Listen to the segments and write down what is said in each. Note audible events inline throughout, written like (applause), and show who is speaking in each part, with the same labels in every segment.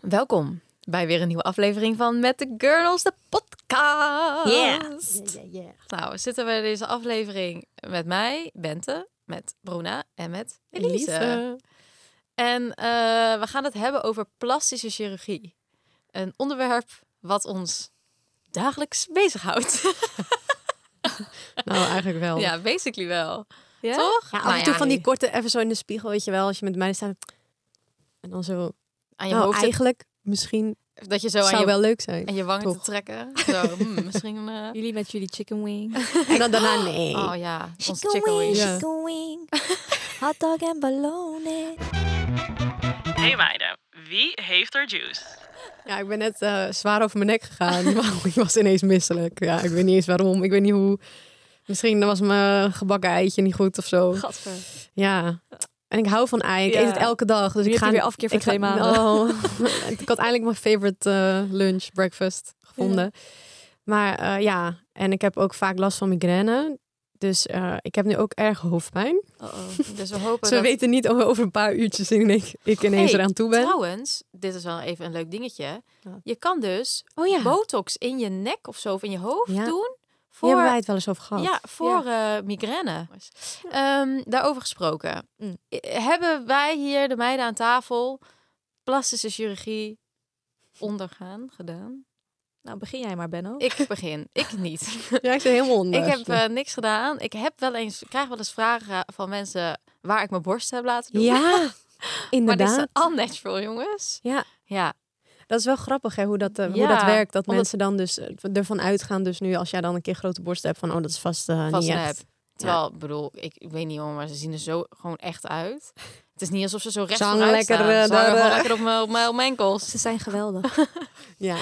Speaker 1: Welkom bij weer een nieuwe aflevering van Met de Girls, de podcast. Nou, zitten we in deze aflevering met mij, Bente, met Bruna en met Elise. En eh, we gaan het hebben over plastische chirurgie. Een onderwerp wat ons dagelijks bezighoudt.
Speaker 2: Nou, eigenlijk wel.
Speaker 1: ja, basically wel.
Speaker 2: Ja?
Speaker 1: Toch?
Speaker 2: Ja, af
Speaker 1: Nou
Speaker 2: en toe
Speaker 1: ja,
Speaker 2: van die korte, even zo in de spiegel, weet je wel, als je met mij staat. En dan zo,
Speaker 1: aan je
Speaker 2: nou,
Speaker 1: hoofd
Speaker 2: eigenlijk, misschien
Speaker 1: zit- dat je zo aan
Speaker 2: zou
Speaker 1: je,
Speaker 2: wel leuk zijn.
Speaker 1: aan je wangen
Speaker 2: Toch.
Speaker 1: te trekken. Zo, hmm, misschien... eh,
Speaker 2: (laughs)
Speaker 3: Jullie met jullie chicken wing.
Speaker 2: En dan daarna, nee.
Speaker 1: Oh ja, ons
Speaker 3: Chicken wing,
Speaker 2: Ja.
Speaker 3: chicken wing. Hot dog en ballonen.
Speaker 4: Hey meiden, wie heeft er juice?
Speaker 2: Ja, ik ben net eh, zwaar over mijn nek gegaan. (laughs) Wauw, ik was ineens misselijk. Ja, ik weet niet eens waarom. Ik weet niet hoe. Misschien was mijn gebakken eitje niet goed of zo.
Speaker 3: Gadver.
Speaker 2: Ja. En ik hou van ei. Ik
Speaker 3: Ja.
Speaker 2: eet het elke dag. Dus ik
Speaker 3: Nu heb
Speaker 2: ga
Speaker 3: je weer afkeer voor
Speaker 2: ik ga-
Speaker 3: twee maanden.
Speaker 2: Oh. (laughs) ik had eindelijk mijn favorite eh, lunch, breakfast gevonden. Maar eh, ja, en ik heb ook vaak last van migraine. Dus eh, ik heb nu ook erg hoofdpijn.
Speaker 3: Oh,
Speaker 1: Dus we hopen
Speaker 2: Dus we
Speaker 1: dat...
Speaker 2: weten niet of we over een paar uurtjes in ik, ik ineens
Speaker 1: Hey,
Speaker 2: eraan toe ben.
Speaker 1: Trouwens, dit is wel even een leuk dingetje.
Speaker 2: Wat?
Speaker 1: Je kan dus
Speaker 2: oh ja,
Speaker 1: botox in je nek of zo of in je hoofd
Speaker 2: Ja.
Speaker 1: doen
Speaker 2: hier hebben wij
Speaker 1: voor,
Speaker 2: het wel eens over gehad.
Speaker 1: ja, voor eh, migraine. Ehm, daarover gesproken.
Speaker 2: Mm.
Speaker 1: I- Hebben wij hier de meiden aan tafel plastische chirurgie ondergaan, gedaan?
Speaker 3: Nou, begin jij maar, Benno.
Speaker 1: Ik begin. Ik
Speaker 2: (laughs)
Speaker 1: niet. (laughs)
Speaker 2: Ja, ik zit helemaal onder.
Speaker 1: ik heb eh, niks gedaan. Ik heb wel eens, krijg wel eens vragen van mensen waar ik mijn borst heb laten doen.
Speaker 3: (laughs)
Speaker 1: maar dit
Speaker 2: Ja, inderdaad.
Speaker 1: is unnatural, jongens.
Speaker 2: Ja.
Speaker 1: Ja,
Speaker 2: Dat is wel grappig hè, hoe, dat, eh, hoe
Speaker 1: Ja,
Speaker 2: dat werkt. Dat
Speaker 1: omdat-
Speaker 2: mensen dan dus eh, ervan uitgaan, dus nu als jij dan een keer grote borst hebt, van oh, dat is vast, eh,
Speaker 1: vast
Speaker 2: niet
Speaker 1: nep.
Speaker 2: echt.
Speaker 1: Terwijl, ik bedoel, ik, ik weet niet hoor, maar ze zien er zo gewoon echt uit. Het is niet alsof ze zo recht
Speaker 2: Ze hangen
Speaker 1: vooruit
Speaker 2: lekker,
Speaker 1: staan.
Speaker 2: eh,
Speaker 1: Ze hangen
Speaker 2: daar,
Speaker 1: gewoon
Speaker 2: eh.
Speaker 1: lekker op mijn, op mijn, op mijn enkels.
Speaker 3: Ze zijn (laughs) geweldig.
Speaker 2: Ja.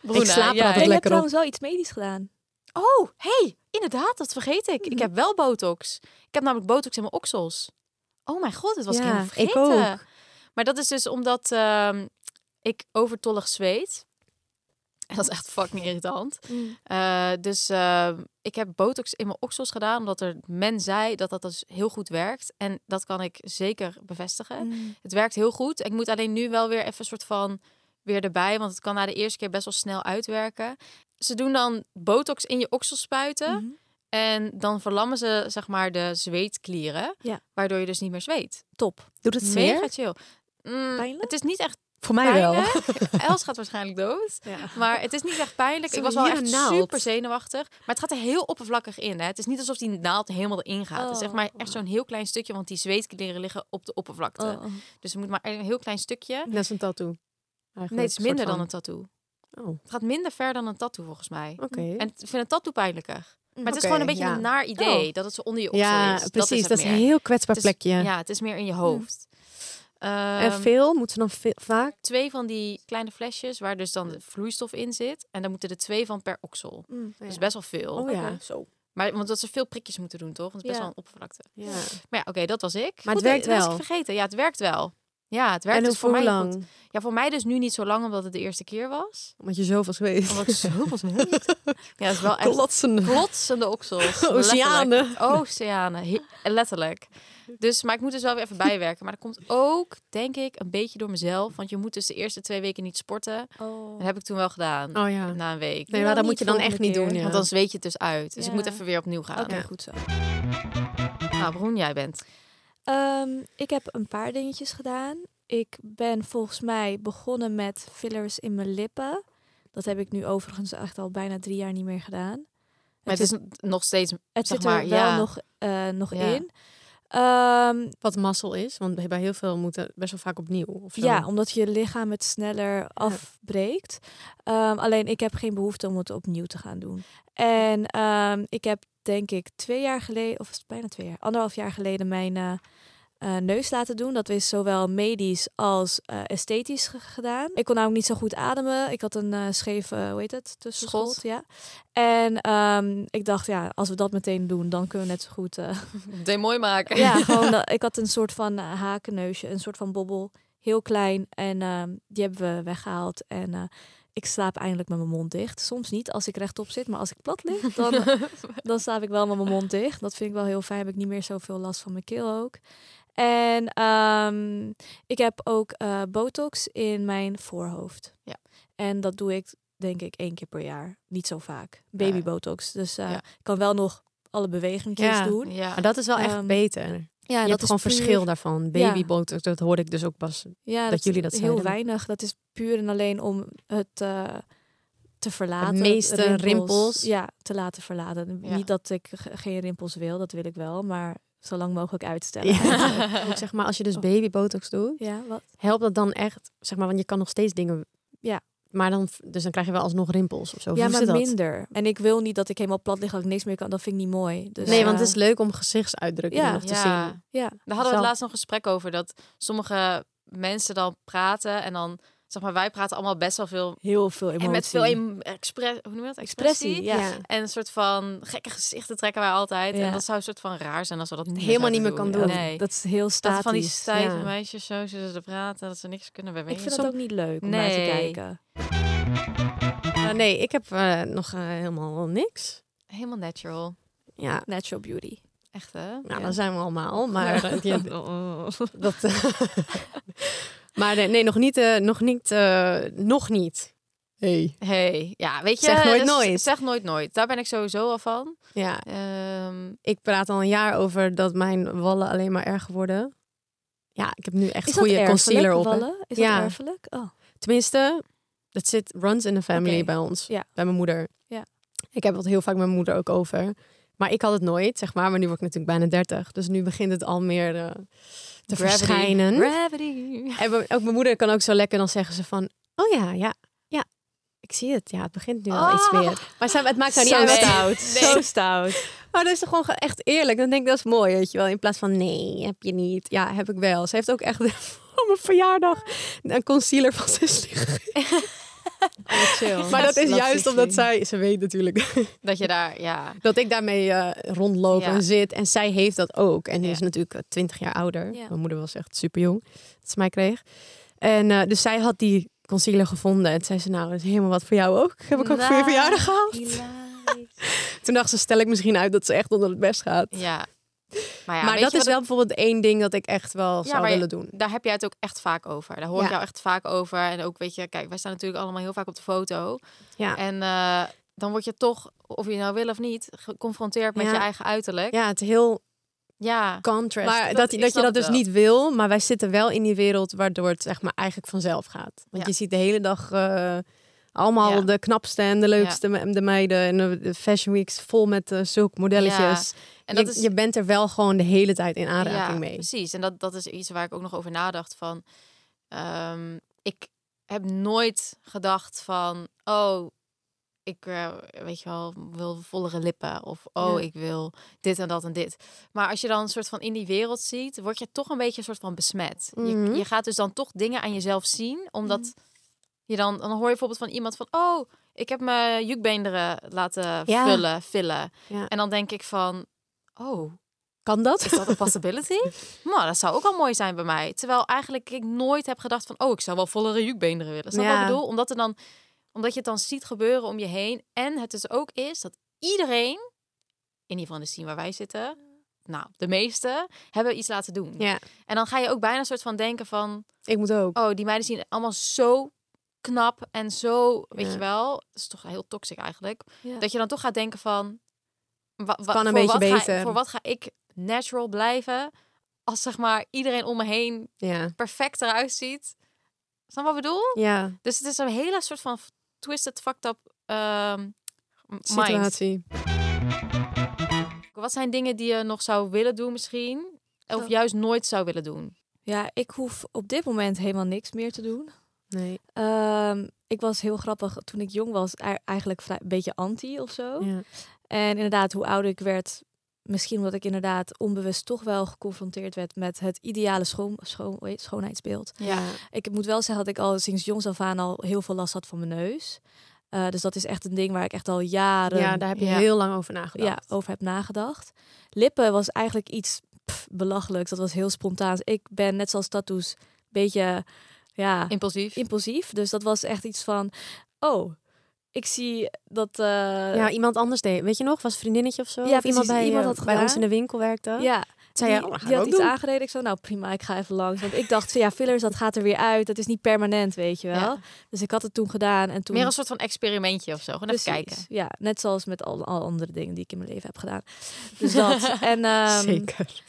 Speaker 1: Bruna,
Speaker 2: ik slaap
Speaker 1: jij?
Speaker 2: er altijd
Speaker 3: ik heb
Speaker 2: lekker op.
Speaker 3: trouwens wel iets medisch gedaan.
Speaker 1: Oh, hey, inderdaad, dat vergeet ik. Ik heb wel botox. Ik heb namelijk botox in mijn oksels. Oh mijn god, dat was ik
Speaker 2: Ja,
Speaker 1: helemaal
Speaker 2: ik
Speaker 1: vergeten.
Speaker 2: ook.
Speaker 1: Maar dat is dus omdat ehm, ik overtollig zweet. En dat is echt fucking irritant. Eh, dus ehm, ik heb botox in mijn oksels gedaan, omdat er men zei dat dat dus heel goed werkt. En dat kan ik zeker bevestigen.
Speaker 3: Mm.
Speaker 1: Het werkt heel goed. Ik moet alleen nu wel weer even een soort van weer erbij, want het kan na de eerste keer best wel snel uitwerken. Ze doen dan botox in je oksel spuiten
Speaker 3: Mhm.
Speaker 1: en dan verlammen ze zeg maar de zweetklieren,
Speaker 3: Ja.
Speaker 1: waardoor je dus niet meer zweet.
Speaker 3: Top.
Speaker 2: Doet het zeer?
Speaker 1: Mega chill. Mm,
Speaker 3: Pijnlijk?
Speaker 1: het is niet echt
Speaker 2: Voor mij (laughs) wel.
Speaker 1: pijnlijk. (laughs) Els gaat waarschijnlijk dood. Maar het is niet echt pijnlijk.
Speaker 2: Ze
Speaker 1: Ik was wel
Speaker 2: hebben
Speaker 1: echt
Speaker 2: hier een naald.
Speaker 1: super zenuwachtig. Maar het gaat er heel oppervlakkig in. Hè? Het is niet alsof die naald helemaal erin gaat. Het is echt
Speaker 3: Oh.
Speaker 1: maar echt zo'n heel klein stukje, want die zweetklieren liggen op de oppervlakte.
Speaker 3: Oh, oh.
Speaker 1: Dus het moet maar een heel klein stukje.
Speaker 2: Dat is een tattoo.
Speaker 1: Nee, het is minder dan een tattoo.
Speaker 2: Oh, oké.
Speaker 1: Het gaat minder ver dan een tattoo volgens mij. En ik vind een tattoo pijnlijker. Maar
Speaker 3: Mm.
Speaker 1: het is
Speaker 2: Oké,
Speaker 1: gewoon een beetje
Speaker 2: ja. Oh.
Speaker 1: een naar idee dat het zo onder je oksel
Speaker 2: Ja,
Speaker 1: is. Dat
Speaker 2: precies. Dat is,
Speaker 1: het meer.
Speaker 2: een heel kwetsbaar
Speaker 1: Het is-
Speaker 2: plekje.
Speaker 1: Ja, het is meer in je hoofd.
Speaker 2: en
Speaker 1: Ehm,
Speaker 2: veel? Moeten ze dan ve- vaak?
Speaker 1: twee van die kleine flesjes waar dus dan de vloeistof in zit. En daar moeten er twee van per oksel.
Speaker 3: Mm.
Speaker 1: Dat is best wel veel.
Speaker 2: Oh ja.
Speaker 3: Zo.
Speaker 1: Maar want dat ze veel prikjes moeten doen, toch? Want het is best
Speaker 3: Ja.
Speaker 1: wel een oppervlakte.
Speaker 2: ja.
Speaker 1: Maar ja, oké, dat was ik.
Speaker 2: Maar
Speaker 1: Goed,
Speaker 2: het werkt
Speaker 1: dat was
Speaker 2: wel.
Speaker 1: ik vergeten. Ja, het werkt wel. Ja, het werkt
Speaker 2: en
Speaker 1: dus
Speaker 2: hoe
Speaker 1: voor mij
Speaker 2: lang?
Speaker 1: goed. Ja, voor mij dus nu niet zo lang, omdat het de eerste keer
Speaker 2: (laughs)
Speaker 1: was.
Speaker 2: Omdat je zoveel weet.
Speaker 1: Omdat ik zoveel weet. Ja, het is wel echt
Speaker 2: (laughs) Klotsende.
Speaker 1: klotsende
Speaker 2: (laughs)
Speaker 1: oksels.
Speaker 2: Oceanen.
Speaker 1: Letterlijk. Oceanen, he- letterlijk. Dus, maar ik moet dus wel weer even bijwerken. Maar dat komt ook, denk ik, een beetje door mezelf. Want je moet dus de eerste twee weken niet sporten.
Speaker 3: Oh.
Speaker 1: Dat heb ik toen wel gedaan,
Speaker 2: Oh ja.
Speaker 1: na een week.
Speaker 2: Nee, maar dat moet je dan echt niet doen. Ja.
Speaker 1: Want dan zweet je het dus uit. Dus ik
Speaker 3: Ja.
Speaker 1: moet even weer opnieuw gaan.
Speaker 3: Oké,
Speaker 2: Ja.
Speaker 3: goed zo.
Speaker 1: Nou, Broen, jij bent.
Speaker 3: Ehm, ik heb een paar dingetjes gedaan. Ik ben volgens mij begonnen met fillers in mijn lippen. Dat heb ik nu overigens echt al bijna drie jaar niet meer gedaan.
Speaker 1: Maar het is n- nog (laughs) steeds... zeg
Speaker 3: het zit er
Speaker 1: maar,
Speaker 3: wel
Speaker 1: ja.
Speaker 3: nog, eh, nog
Speaker 1: Ja.
Speaker 3: in. Ehm,
Speaker 2: Wat mazzel is, want bij heel veel moeten best wel vaak opnieuw. Of zo.
Speaker 3: Ja, omdat je lichaam het sneller afbreekt. Ehm, alleen ik heb geen behoefte om het opnieuw te gaan doen. En ehm, ik heb denk ik twee jaar geleden, of is het bijna twee jaar, anderhalf jaar geleden mijn eh, eh, neus laten doen. Dat is zowel medisch als eh, esthetisch ge- gedaan. Ik kon namelijk niet zo goed ademen. Ik had een eh scheve, eh, hoe heet het, tussenschot.
Speaker 1: Schot.
Speaker 3: Ja. En ehm, ik dacht, ja, als we dat meteen doen, dan kunnen we net zo goed... eh,
Speaker 1: De mooi maken. (laughs)
Speaker 3: ja, gewoon dat, ik had een soort van eh, hakenneusje, een soort van bobbel. Heel klein. En ehm, die hebben we weggehaald. En eh, ik slaap eindelijk met mijn mond dicht. Soms niet als ik rechtop zit, maar als ik plat lig, dan, eh, dan slaap ik wel met mijn mond dicht. Dat vind ik wel heel fijn. Heb ik niet meer zoveel last van mijn keel ook. En ehm, ik heb ook eh, botox in mijn voorhoofd.
Speaker 1: Ja.
Speaker 3: En dat doe ik denk ik één keer per jaar. Niet zo vaak. Baby
Speaker 1: Ja.
Speaker 3: botox. Dus eh,
Speaker 1: Ja.
Speaker 3: ik kan wel nog alle bewegingjes
Speaker 2: Ja.
Speaker 3: doen.
Speaker 1: Ja. (laughs)
Speaker 2: Maar dat is wel echt
Speaker 3: Ehm,
Speaker 2: beter. Je
Speaker 3: Ja,
Speaker 2: hebt gewoon
Speaker 3: puur-
Speaker 2: verschil daarvan.
Speaker 3: Ja.
Speaker 2: Baby botox, dat hoorde ik dus ook pas.
Speaker 3: Ja,
Speaker 2: dat jullie dat
Speaker 3: heel
Speaker 2: zeiden.
Speaker 3: weinig. Dat is puur en alleen om het eh, te verlaten.
Speaker 2: meeste rimpels.
Speaker 3: Ja, te laten verlaten.
Speaker 1: Ja.
Speaker 3: Niet dat ik ge- geen rimpels wil, dat wil ik wel, maar zo lang mogelijk uitstellen.
Speaker 2: Ja.
Speaker 3: (laughs) Ja,
Speaker 2: Ook zeg maar, als je dus
Speaker 3: Oh.
Speaker 2: baby botox doet,
Speaker 3: wat?
Speaker 2: helpt dat dan echt? Zeg maar, want je kan nog steeds dingen.
Speaker 3: Ja.
Speaker 2: Maar dan, dus dan krijg je wel alsnog rimpels of zo.
Speaker 3: ja
Speaker 2: Hoe
Speaker 3: maar
Speaker 2: zit dat?
Speaker 3: minder. En ik wil niet dat ik helemaal plat lig, dat ik niks meer kan. Dat vind ik niet mooi. Dus,
Speaker 2: Nee, want
Speaker 3: eh,
Speaker 2: het is leuk om gezichtsuitdrukkingen
Speaker 3: Ja.
Speaker 2: nog te
Speaker 1: Ja.
Speaker 2: zien.
Speaker 1: Daar
Speaker 3: Ja,
Speaker 1: hadden we
Speaker 2: Zo.
Speaker 1: het laatst nog een gesprek over. Dat sommige mensen dan praten en dan... Zeg maar, wij praten allemaal best wel veel...
Speaker 3: heel veel emotie.
Speaker 1: En met veel em- expre- hoe noem je dat?
Speaker 3: expressie. Ja. Ja.
Speaker 1: En een soort van gekke gezichten trekken wij altijd.
Speaker 3: Ja.
Speaker 1: En dat zou een soort van raar zijn als we dat niet meer
Speaker 2: Helemaal
Speaker 1: zouden
Speaker 2: niet meer kan
Speaker 1: doen.
Speaker 2: doen.
Speaker 1: Nee.
Speaker 3: Dat is heel
Speaker 1: Dat
Speaker 3: statisch.
Speaker 1: van die stijve
Speaker 2: ja.
Speaker 1: meisjes zo zitten te praten, dat ze niks kunnen
Speaker 3: ik
Speaker 1: bewegen.
Speaker 3: vind dat ook niet leuk om naar
Speaker 1: Nee.
Speaker 3: te kijken.
Speaker 2: Eh, nee, ik heb eh, nog eh, helemaal niks.
Speaker 1: Helemaal natural.
Speaker 2: Ja,
Speaker 3: Natural beauty.
Speaker 1: Echt, hè?
Speaker 2: Nou,
Speaker 1: Ja.
Speaker 2: dan zijn we
Speaker 3: (laughs)
Speaker 2: allemaal. Maar, (laughs) eh, ja,
Speaker 1: (laughs) Oh.
Speaker 2: dat, eh, (laughs) maar nee, nee, nog niet. eh, nog niet. eh, nog niet. Hey.
Speaker 1: Hey, ja, weet je...
Speaker 2: Zeg nooit
Speaker 1: dus
Speaker 2: nooit.
Speaker 1: Zeg nooit nooit. Daar ben ik sowieso al van.
Speaker 2: Ja,
Speaker 1: Ehm,
Speaker 2: ik praat al een jaar over dat mijn wallen alleen maar erger worden. Ja, ik heb nu echt
Speaker 3: Is dat
Speaker 2: goede
Speaker 3: erfelijk,
Speaker 2: concealer op. hè.
Speaker 3: wallen? Is
Speaker 2: Ja.
Speaker 3: dat erfelijk? Oh.
Speaker 2: Tenminste, dat zit runs in the family
Speaker 3: Oké.
Speaker 2: bij ons.
Speaker 3: Ja.
Speaker 2: Bij mijn moeder.
Speaker 3: Ja.
Speaker 2: Ik heb het heel vaak met mijn moeder ook over. Maar ik had het nooit, zeg maar. Maar nu word ik natuurlijk bijna 30. Dus nu begint het al meer eh, te
Speaker 1: gravity.
Speaker 2: verschijnen.
Speaker 1: Gravity.
Speaker 2: En mijn- ook mijn moeder kan ook zo lekker dan zeggen ze van... Oh ja, ja, ja. Ik zie het. Ja, het begint nu al iets
Speaker 1: Oh.
Speaker 2: meer. (laughs) Maar ze- het maakt haar niet
Speaker 3: Zo
Speaker 2: uit. (laughs)
Speaker 3: stout.
Speaker 1: Nee.
Speaker 3: Zo stout.
Speaker 2: Maar dat is toch gewoon ge- echt eerlijk. Dan denk ik, dat is mooi, weet je wel. In plaats van, nee, heb je niet. Ja, heb ik wel. Ze heeft ook echt (laughs) voor mijn verjaardag een concealer van zes liggen.
Speaker 3: Chill.
Speaker 2: Maar dat is
Speaker 3: Laat
Speaker 2: juist
Speaker 3: zien.
Speaker 2: omdat zij... Ze weet natuurlijk
Speaker 1: Dat je daar, ja.
Speaker 2: dat ik daarmee eh, rondloop
Speaker 1: Ja.
Speaker 2: en zit. En zij heeft dat ook. En die
Speaker 1: Ja.
Speaker 2: is natuurlijk eh, twintig jaar ouder.
Speaker 3: Ja.
Speaker 2: Mijn moeder was echt super jong dat ze mij kreeg. En eh, dus zij had die concealer gevonden. En zei ze, nou, dat is helemaal wat voor jou ook. Heb ik ook voor je
Speaker 1: Nou,
Speaker 2: verjaardag gehaald. Toen dacht ze, stel ik misschien uit dat ze echt onder het best gaat.
Speaker 1: Ja. Maar, ja,
Speaker 2: maar
Speaker 1: weet
Speaker 2: dat
Speaker 1: je
Speaker 2: is
Speaker 1: wat
Speaker 2: wel bijvoorbeeld één ding dat ik echt wel zou
Speaker 1: maar je-
Speaker 2: willen doen.
Speaker 1: daar heb jij het ook echt vaak over. Daar hoor
Speaker 2: Ja.
Speaker 1: ik jou echt vaak over. En ook, weet je, kijk, wij staan natuurlijk allemaal heel vaak op de foto.
Speaker 2: Ja.
Speaker 1: En eh, dan word je toch, of je nou wil of niet, geconfronteerd met
Speaker 2: Ja.
Speaker 1: je eigen uiterlijk. Ja.
Speaker 2: Ja, het is heel
Speaker 1: Contrast.
Speaker 2: Maar dat,
Speaker 1: Dat-
Speaker 2: dat,
Speaker 1: ik
Speaker 2: je
Speaker 1: snap
Speaker 2: dat
Speaker 1: het
Speaker 2: dus
Speaker 1: wel.
Speaker 2: niet wil, maar wij zitten wel in die wereld waardoor het zeg maar eigenlijk vanzelf gaat.
Speaker 1: Ja.
Speaker 2: Want je ziet de hele dag eh, allemaal
Speaker 1: Ja.
Speaker 2: de knapste en de leukste me- de meiden en de, de fashion weeks vol met eh, zulke modelletjes.
Speaker 1: En dat
Speaker 2: je,
Speaker 1: is,
Speaker 2: je bent er wel gewoon de hele tijd in aanraking
Speaker 1: ja,
Speaker 2: mee.
Speaker 1: precies. En dat, dat is iets waar ik ook nog over nadacht van... ehm, ik heb nooit gedacht van... Oh, ik eh, weet je wel, wil vollere lippen. Of oh,
Speaker 2: Ja.
Speaker 1: ik wil dit en dat en dit. Maar als je dan een soort van in die wereld ziet... word je toch een beetje een soort van besmet.
Speaker 2: Mhm.
Speaker 1: je, je gaat dus dan toch dingen aan jezelf zien. Omdat je dan... Dan hoor je bijvoorbeeld van iemand van... Oh, ik heb mijn jukbeenderen laten
Speaker 2: Ja.
Speaker 1: vullen, vullen.
Speaker 2: Ja.
Speaker 1: En dan denk ik van... Oh,
Speaker 2: Kan dat?
Speaker 1: Is dat een possibility? nou, dat zou ook wel mooi zijn bij mij. Terwijl eigenlijk ik nooit heb gedacht van... oh, ik zou wel vollere jukbeenderen willen. Snap je wat
Speaker 2: Ja.
Speaker 1: ik bedoel? Omdat, er dan, omdat je het dan ziet gebeuren om je heen. En het dus ook is dat iedereen... in ieder geval in de scene waar wij zitten... nou, de meesten hebben iets laten doen.
Speaker 2: Ja.
Speaker 1: En dan ga je ook bijna een soort van denken van...
Speaker 2: Ik moet ook.
Speaker 1: oh, die meiden zien er allemaal zo knap en zo... weet
Speaker 2: Ja.
Speaker 1: je wel, dat is toch heel toxic eigenlijk.
Speaker 3: Ja.
Speaker 1: Dat je dan toch gaat denken van... wa- wa-
Speaker 2: kan een
Speaker 1: voor
Speaker 2: beetje
Speaker 1: wat ga-
Speaker 2: beter.
Speaker 1: voor wat ga ik natural blijven als zeg maar iedereen om me heen
Speaker 2: Ja.
Speaker 1: perfect eruit ziet? Snap je wat ik bedoel?
Speaker 2: Ja,
Speaker 1: Dus het is een hele soort van twisted, fucked up ehm mind.
Speaker 2: situatie.
Speaker 1: Wat zijn dingen die je nog zou willen doen misschien? Of
Speaker 3: Oh.
Speaker 1: juist nooit zou willen doen?
Speaker 3: Ja, ik hoef op dit moment helemaal niks meer te doen.
Speaker 2: Nee.
Speaker 3: Ehm, ik was heel grappig toen ik jong was, ei- eigenlijk vrij- een beetje anti of zo.
Speaker 1: Oh.
Speaker 2: Ja.
Speaker 3: En inderdaad, hoe ouder ik werd, misschien omdat ik inderdaad onbewust toch wel geconfronteerd werd met het ideale schoon, schoon, hoe heet- schoonheidsbeeld.
Speaker 2: Ja.
Speaker 3: Ik moet wel zeggen dat ik al sinds jongs af aan al heel veel last had van mijn neus. Eh, dus dat is echt een ding waar ik echt al jaren
Speaker 2: ja, daar heb je
Speaker 1: Ja.
Speaker 2: heel lang over nagedacht.
Speaker 3: ja, over heb nagedacht. Lippen was eigenlijk iets pff, belachelijks. Dat was heel spontaan. Ik ben net zoals tattoos een beetje ja,
Speaker 1: Impulsief?
Speaker 3: impulsief. Dus dat was echt iets van, oh, ik zie dat... eh,
Speaker 2: Ja, iemand anders deed. Weet je nog? Was een vriendinnetje of zo?
Speaker 3: Ja,
Speaker 2: of iemand
Speaker 3: precies.
Speaker 2: bij,
Speaker 3: Iemand
Speaker 2: eh,
Speaker 3: had
Speaker 2: bij ons
Speaker 3: gedaan.
Speaker 2: in de winkel werkte.
Speaker 3: ja,
Speaker 2: Zei
Speaker 3: die,
Speaker 2: jij, oh, dat gaan
Speaker 3: die
Speaker 2: we
Speaker 3: had
Speaker 2: ook
Speaker 3: iets
Speaker 2: doen.
Speaker 3: aangereden. Ik zo, nou prima, ik ga even langs. Want ik dacht, ja, fillers, dat gaat er weer uit. Dat is niet permanent, weet je wel.
Speaker 1: Ja.
Speaker 3: Dus ik had het toen gedaan. En toen
Speaker 1: Meer een soort van experimentje of zo. Gewoon even
Speaker 3: Precies,
Speaker 1: kijken.
Speaker 3: Ja, net zoals met al, al andere dingen die ik in mijn leven heb gedaan. Dus
Speaker 2: (laughs)
Speaker 3: dat. En, ehm,
Speaker 2: Zeker.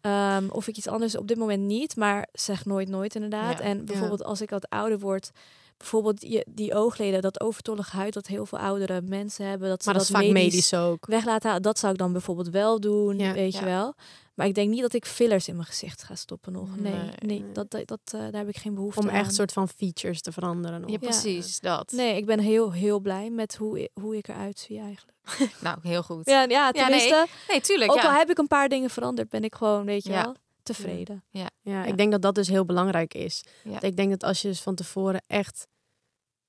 Speaker 3: Ehm, of ik iets anders op dit moment niet, maar zeg nooit nooit inderdaad.
Speaker 1: Ja.
Speaker 3: En bijvoorbeeld als ik wat ouder word, bijvoorbeeld je, die oogleden, dat overtollig huid dat heel veel oudere mensen hebben, dat ze
Speaker 2: Maar dat is vaak
Speaker 3: medisch
Speaker 2: medisch ook.
Speaker 3: weg laten halen, dat zou ik dan bijvoorbeeld wel doen,
Speaker 2: Ja.
Speaker 3: weet je
Speaker 1: Ja.
Speaker 3: wel. Maar ik denk niet dat ik fillers in mijn gezicht ga stoppen nog. Nee,
Speaker 1: Nee,
Speaker 3: nee,
Speaker 2: nee.
Speaker 3: Dat, dat, dat, eh, daar heb ik geen behoefte
Speaker 2: Om
Speaker 3: aan.
Speaker 2: echt soort van features te veranderen.
Speaker 1: Ja,
Speaker 2: of-
Speaker 1: precies. Dat.
Speaker 3: Nee, ik ben heel, heel blij met hoe, i- hoe ik eruit zie eigenlijk.
Speaker 1: Nou, heel goed.
Speaker 3: Ja, ja
Speaker 1: nee.
Speaker 3: tenminste,
Speaker 1: Nee, tuurlijk.
Speaker 3: ook
Speaker 1: ja.
Speaker 3: al heb ik een paar dingen veranderd, ben ik gewoon, weet je
Speaker 1: Ja.
Speaker 3: wel, tevreden.
Speaker 2: Ja,
Speaker 3: Ja.
Speaker 2: ik denk dat dat dus heel belangrijk is.
Speaker 1: Ja.
Speaker 2: Want ik denk dat als je dus van tevoren echt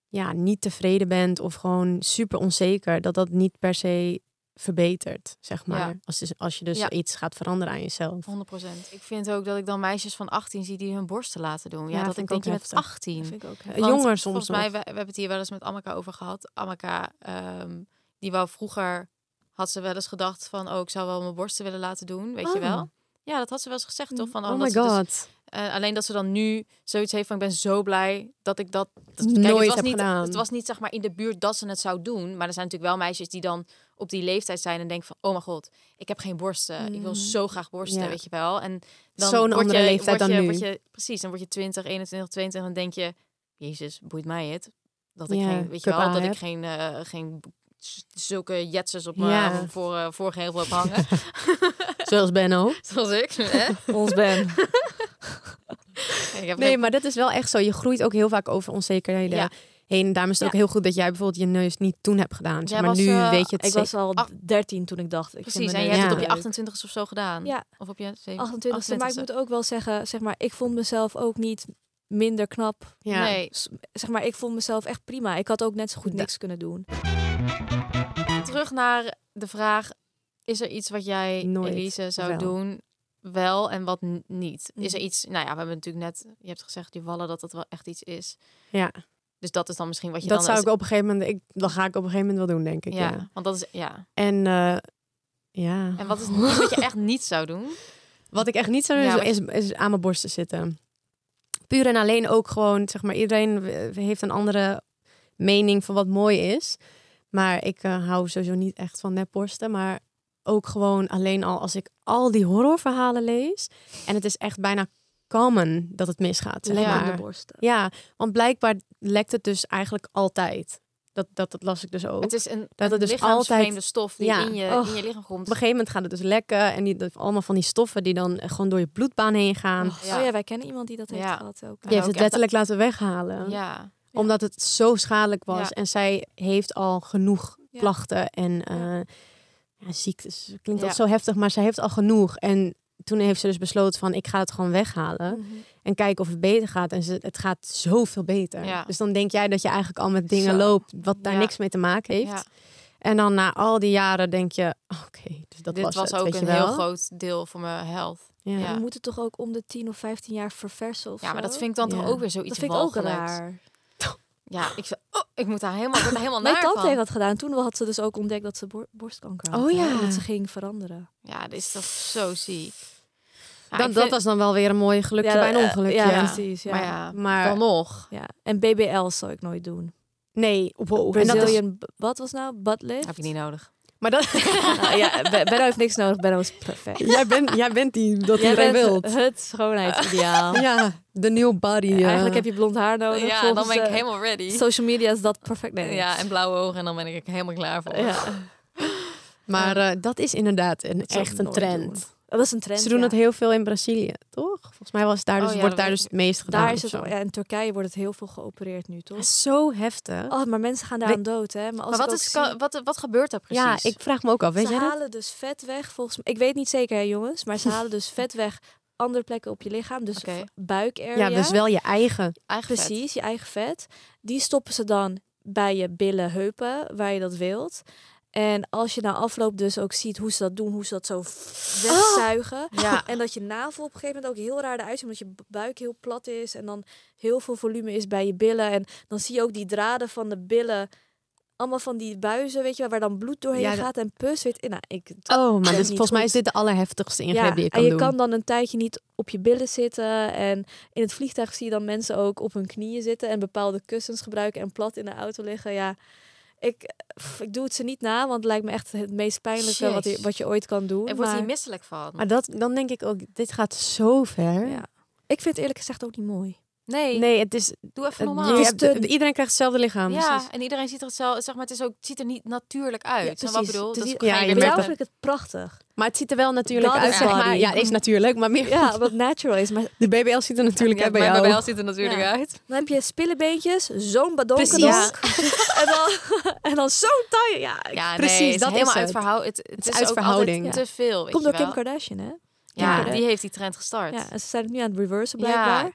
Speaker 2: ja, niet tevreden bent of gewoon super onzeker, dat dat niet per se verbetert, zeg maar.
Speaker 1: Ja.
Speaker 2: Als, dus, als je dus
Speaker 1: Ja.
Speaker 2: iets gaat veranderen aan jezelf.
Speaker 1: 100%. Ik vind ook dat ik dan meisjes van 18 zie die hun borsten laten doen. Ja,
Speaker 2: Ja,
Speaker 1: dat
Speaker 2: vind
Speaker 1: ik denk
Speaker 2: ik
Speaker 1: je
Speaker 2: ook
Speaker 1: met
Speaker 2: heftig.
Speaker 1: 18.
Speaker 3: Dat vind ik ook heel
Speaker 2: Eh, Jonger soms
Speaker 1: Volgens mij,
Speaker 2: nog.
Speaker 1: we, we hebben het hier wel eens met Amaka over gehad. Amaka, ehm, die wou vroeger, had ze wel eens gedacht van, oh, ik zou wel mijn borsten willen laten doen, weet je
Speaker 2: Oh.
Speaker 1: wel? Ja, dat had ze wel eens gezegd, toch? Van, oh,
Speaker 2: oh
Speaker 1: dat
Speaker 2: my
Speaker 1: ze dus-
Speaker 2: god. (laughs)
Speaker 1: eh, alleen dat ze dan nu zoiets heeft van, ik ben zo blij dat ik dat... dat-
Speaker 2: Nooit
Speaker 1: het was
Speaker 2: heb
Speaker 1: niet,
Speaker 2: gedaan.
Speaker 1: Het was niet, zeg maar, in de buurt dat ze het zou doen. Maar er zijn natuurlijk wel meisjes die dan op die leeftijd zijn en denken van, oh mijn god, ik heb geen borsten. Ik wil zo graag borsten,
Speaker 2: Mm. Ja.
Speaker 1: weet je wel? En dan
Speaker 2: Zo'n
Speaker 1: word
Speaker 2: andere
Speaker 1: je-
Speaker 2: leeftijd
Speaker 1: word
Speaker 2: dan
Speaker 1: je-
Speaker 2: nu.
Speaker 1: word je- precies, dan word je 20, 21, 22 en dan denk je, jezus, boeit mij het? Dat ik
Speaker 2: Ja,
Speaker 1: geen, weet je
Speaker 2: cup
Speaker 1: wel,
Speaker 2: A
Speaker 1: dat ik
Speaker 2: heb.
Speaker 1: geen, eh, geen z- zulke jetsers op mijn
Speaker 2: Ja.
Speaker 1: voor, eh, voorgevel heb hangen. (laughs)
Speaker 2: Zoals Benno.
Speaker 1: Zoals ik, hè?
Speaker 3: Ons Ben.
Speaker 1: Ik heb
Speaker 2: Nee, maar dat is wel echt zo. Je groeit ook heel vaak over onzekerheden
Speaker 1: Ja.
Speaker 2: heen. Daarom is het ook heel goed dat jij bijvoorbeeld je neus niet toen hebt gedaan. zeg
Speaker 1: Jij
Speaker 2: maar
Speaker 1: was,
Speaker 2: nu
Speaker 1: eh,
Speaker 2: weet je het
Speaker 3: Ik
Speaker 2: zeker.
Speaker 3: was al
Speaker 1: Ach.
Speaker 3: 13 toen ik dacht. Ik vind
Speaker 1: Precies, en
Speaker 3: mijn
Speaker 1: je
Speaker 3: neus
Speaker 1: hebt het
Speaker 2: Ja.
Speaker 1: op je
Speaker 3: leuk.
Speaker 1: 28 of zo gedaan.
Speaker 3: Ja.
Speaker 1: Of op je
Speaker 3: 28 Maar ik moet ook wel zeggen, zeg maar, ik vond mezelf ook niet minder knap.
Speaker 2: Ja.
Speaker 1: Nee,
Speaker 3: S- Zeg maar, ik vond mezelf echt prima. Ik had ook net zo goed
Speaker 2: Da-
Speaker 3: niks kunnen doen.
Speaker 1: terug naar de vraag: is er iets wat jij,
Speaker 2: Nooit,
Speaker 1: Elise, zou
Speaker 2: wel. Hm.
Speaker 1: doen? Wel en wat n- niet? Is er
Speaker 3: Mhm.
Speaker 1: iets, nou ja, we hebben natuurlijk net, je hebt gezegd, die wallen, dat dat wel echt iets is.
Speaker 2: Ja,
Speaker 1: Dus dat is dan misschien wat je
Speaker 2: dat
Speaker 1: dan...
Speaker 2: zou
Speaker 1: als-
Speaker 2: ik op een gegeven moment... Ik, dat ga ik op een gegeven moment wel doen, denk ik. Ja.
Speaker 1: ja, want dat is, ja.
Speaker 2: En eh, ja...
Speaker 1: En wat is niet wat je echt niet zou
Speaker 2: (laughs)
Speaker 1: doen?
Speaker 2: Wat ik echt niet zou doen
Speaker 1: Ja,
Speaker 2: is, is, is aan mijn borsten zitten. Puur en alleen ook gewoon, zeg maar, iedereen eh, heeft een andere mening van wat mooi is. Maar ik eh, hou sowieso niet echt van nepborsten. Maar ook gewoon alleen al als ik al die horrorverhalen lees. En het is echt bijna common dat het misgaat. Zeg
Speaker 1: Alleen aan
Speaker 2: maar.
Speaker 3: borsten.
Speaker 2: Ja, want blijkbaar lekt het dus eigenlijk altijd. Dat, dat, dat las ik dus ook.
Speaker 1: Het is een,
Speaker 2: Dat
Speaker 1: een
Speaker 2: het dus
Speaker 1: lichaamsvreemde
Speaker 2: altijd-
Speaker 1: stof die
Speaker 2: Ja. Oh.
Speaker 1: in, je,
Speaker 3: Och.
Speaker 1: in je lichaam komt.
Speaker 2: Op een gegeven moment gaat het dus lekken. En die, dat- allemaal van die stoffen die dan eh, gewoon door je bloedbaan heen gaan.
Speaker 1: Ja.
Speaker 3: Oh ja, wij kennen iemand die dat heeft
Speaker 1: Ja.
Speaker 3: gehad ook.
Speaker 2: Je
Speaker 1: Ja. ook
Speaker 2: heeft het
Speaker 1: echt-
Speaker 2: letterlijk laten weghalen.
Speaker 1: Ja,
Speaker 2: Omdat het zo schadelijk was.
Speaker 1: Ja.
Speaker 2: En zij heeft al genoeg
Speaker 3: Ja.
Speaker 2: klachten en eh ja, ziektes. Klinkt altijd
Speaker 1: Ja.
Speaker 2: zo heftig, maar zij heeft al genoeg. En toen heeft ze dus besloten van ik ga het gewoon weghalen.
Speaker 3: Mhm.
Speaker 2: En kijken of het beter gaat. En ze, het gaat zoveel beter.
Speaker 1: Ja.
Speaker 2: Dus dan denk jij dat je eigenlijk al met dingen
Speaker 3: Zo.
Speaker 2: loopt wat daar
Speaker 1: Ja.
Speaker 2: niks mee te maken heeft.
Speaker 1: ja.
Speaker 2: En dan na al die jaren denk je, oké, dus dat
Speaker 1: Dit was,
Speaker 2: was, het,
Speaker 1: ook
Speaker 2: weet je
Speaker 1: een heel
Speaker 2: wel.
Speaker 1: groot deel van mijn health.
Speaker 2: Ja.
Speaker 1: Ja.
Speaker 3: We moeten toch ook om de 10 of 15 jaar verversen of
Speaker 1: Ja, maar
Speaker 3: zo?
Speaker 1: dat vind ik dan
Speaker 2: Ja.
Speaker 1: toch ook weer zoiets
Speaker 3: dat vind ik ook
Speaker 1: walgelijks.
Speaker 3: raar.
Speaker 1: Ja, ik, zo- oh, ik moet daar helemaal, ik word daar
Speaker 2: (laughs)
Speaker 1: helemaal
Speaker 3: Mijn
Speaker 1: naar
Speaker 3: tante
Speaker 1: van.
Speaker 3: heeft dat gedaan. Toen had ze dus ook ontdekt dat ze bor- borstkanker had.
Speaker 2: Oh
Speaker 3: hè,
Speaker 2: ja.
Speaker 3: en Dat ze ging veranderen.
Speaker 1: Ja, dit is toch zo ziek. Ja,
Speaker 2: dat,
Speaker 1: ik
Speaker 2: dat
Speaker 1: vind-
Speaker 2: was dan wel weer een mooi gelukje
Speaker 3: Ah, Ja,
Speaker 2: bij een
Speaker 3: eh,
Speaker 2: ongelukje.
Speaker 3: ja,
Speaker 2: Ja.
Speaker 3: precies. Ja.
Speaker 1: Maar ja,
Speaker 2: Maar
Speaker 1: dan nog.
Speaker 3: Ja. En BBL zou ik nooit doen.
Speaker 2: nee, wow. en dat is-
Speaker 3: Brazilian, b- wat was nou? Butt lift?
Speaker 1: Heb ik niet nodig.
Speaker 2: maar dat,
Speaker 3: Nou, ja, Be- Benno heeft niks nodig. Benno is perfect.
Speaker 2: (laughs) jij, bent, jij bent
Speaker 3: (laughs)
Speaker 2: die dat
Speaker 3: Jij
Speaker 2: iedereen
Speaker 3: bent
Speaker 2: wil.
Speaker 3: het (laughs) schoonheidsideaal.
Speaker 2: Ja, de eh. new body. ja.
Speaker 3: Eigenlijk heb je blond haar
Speaker 2: Oh,
Speaker 3: nodig.
Speaker 1: ja,
Speaker 3: volgens,
Speaker 1: dan ben ik
Speaker 3: eh,
Speaker 1: helemaal ready.
Speaker 3: Social media is dat perfect. Nee.
Speaker 1: Ja, en blauwe ogen en dan ben ik er helemaal klaar voor.
Speaker 3: Ja.
Speaker 2: Maar eh, dat is inderdaad een,
Speaker 3: zou
Speaker 2: echt
Speaker 3: ik
Speaker 2: een
Speaker 3: nooit
Speaker 2: trend.
Speaker 3: doen. Dat is een trend.
Speaker 2: Ze doen
Speaker 3: ja.
Speaker 2: het heel veel in Brazilië, toch? Volgens mij was daar
Speaker 1: Oh
Speaker 2: dus,
Speaker 1: ja,
Speaker 2: wordt
Speaker 1: dat
Speaker 2: daar
Speaker 1: weet
Speaker 2: dus het meest gedaan.
Speaker 3: Daar is het,
Speaker 2: of zo.
Speaker 3: ja, in Turkije wordt het heel veel geopereerd nu, toch?
Speaker 2: Dat is zo heftig.
Speaker 3: Oh, maar mensen gaan daar aan dood, hè? Maar, als
Speaker 1: Maar
Speaker 3: ik
Speaker 1: wat,
Speaker 3: ook
Speaker 1: is,
Speaker 3: zie-
Speaker 1: ka- wat, wat gebeurt daar precies?
Speaker 2: ja, ik vraag me ook af. Weet
Speaker 3: ze
Speaker 2: jij dat?
Speaker 3: halen dus vet weg, volgens mij. Ik weet niet zeker, hè, jongens. Maar (laughs) ze halen dus vet weg andere plekken op je lichaam. Dus
Speaker 1: Oké.
Speaker 3: buik area.
Speaker 2: Ja, dus wel je eigen.
Speaker 1: Eigen vet.
Speaker 3: Precies, je eigen vet. Die stoppen ze dan bij je billen, heupen, waar je dat wilt. En als je na afloop dus ook ziet hoe ze dat doen, hoe ze dat zo wegzuigen.
Speaker 2: Ah! (laughs)
Speaker 1: Ja.
Speaker 3: En dat je navel op een gegeven moment ook heel raar eruit ziet, omdat je bu- buik heel plat is en dan heel veel volume is bij je billen. En dan zie je ook die draden van de billen, allemaal van die buizen, weet je, wel, waar dan bloed doorheen
Speaker 2: Ja, dat-
Speaker 3: gaat en pus. Weet, nou, ik,
Speaker 2: Oh, maar
Speaker 3: is
Speaker 2: dit,
Speaker 3: niet
Speaker 2: volgens mij
Speaker 3: goed.
Speaker 2: is dit de allerheftigste ingreep
Speaker 3: ja,
Speaker 2: die je kan
Speaker 3: en je
Speaker 2: doen.
Speaker 3: kan dan een tijdje niet op je billen zitten. En in het vliegtuig zie je dan mensen ook op hun knieën zitten en bepaalde kussens gebruiken en plat in de auto liggen. Ja, ik, pff, ik doe het ze niet na, want het lijkt me echt het meest pijnlijke wat je,
Speaker 1: Jeez.
Speaker 3: wat je ooit kan doen.
Speaker 1: Ik word hier
Speaker 3: maar
Speaker 1: misselijk van.
Speaker 2: Maar dat, dan denk ik ook, dit gaat zo ver.
Speaker 3: Ja. ik vind het eerlijk gezegd ook niet mooi.
Speaker 1: Nee,
Speaker 2: Nee, het is...
Speaker 1: doe even
Speaker 2: het-
Speaker 1: normaal.
Speaker 2: je
Speaker 3: Het is
Speaker 2: hebt-
Speaker 3: te-
Speaker 2: iedereen krijgt hetzelfde lichaam.
Speaker 1: ja,
Speaker 2: precies.
Speaker 1: en iedereen ziet er hetzelfde. Zeg maar, het, is ook, het ziet er niet natuurlijk uit.
Speaker 3: Ja,
Speaker 1: Snap je wat ik
Speaker 3: precies.
Speaker 1: bedoel?
Speaker 3: Het is
Speaker 1: Dat
Speaker 3: niet-
Speaker 1: is
Speaker 2: Ja,
Speaker 1: geen
Speaker 2: je
Speaker 3: Bij
Speaker 2: merkt
Speaker 3: jou
Speaker 1: recepten.
Speaker 2: dat-
Speaker 3: vind ik het prachtig.
Speaker 2: Maar het ziet er wel natuurlijk
Speaker 3: Dat
Speaker 2: uit,
Speaker 3: is
Speaker 2: zeg maar.
Speaker 3: body.
Speaker 2: Ja, het is natuurlijk, maar (laughs) meer...
Speaker 3: Ja, wat natural is. Maar
Speaker 2: De BBL ziet er natuurlijk uit bij jou.
Speaker 1: bij ziet er natuurlijk
Speaker 3: Ja.
Speaker 1: uit.
Speaker 3: dan heb je spillebeentjes, zo'n
Speaker 2: Precies.
Speaker 3: badonkadonk. (laughs) En dan, en dan zo'n taille. Ja, ik-
Speaker 1: Ja,
Speaker 2: Precies,
Speaker 1: nee, het is
Speaker 2: dat is
Speaker 1: helemaal uit
Speaker 2: het.
Speaker 1: verhouding. Het, het,
Speaker 2: is
Speaker 1: is,
Speaker 2: uit
Speaker 1: ook
Speaker 2: verhouding.
Speaker 1: altijd te veel. Weet
Speaker 3: komt
Speaker 1: je
Speaker 3: door
Speaker 1: wel.
Speaker 3: Kim Kardashian, hè?
Speaker 1: Ja,
Speaker 2: Kim
Speaker 1: die heeft die trend gestart.
Speaker 3: Ja, en ze zijn het nu aan het reversen,
Speaker 1: Ja.
Speaker 3: blijkbaar.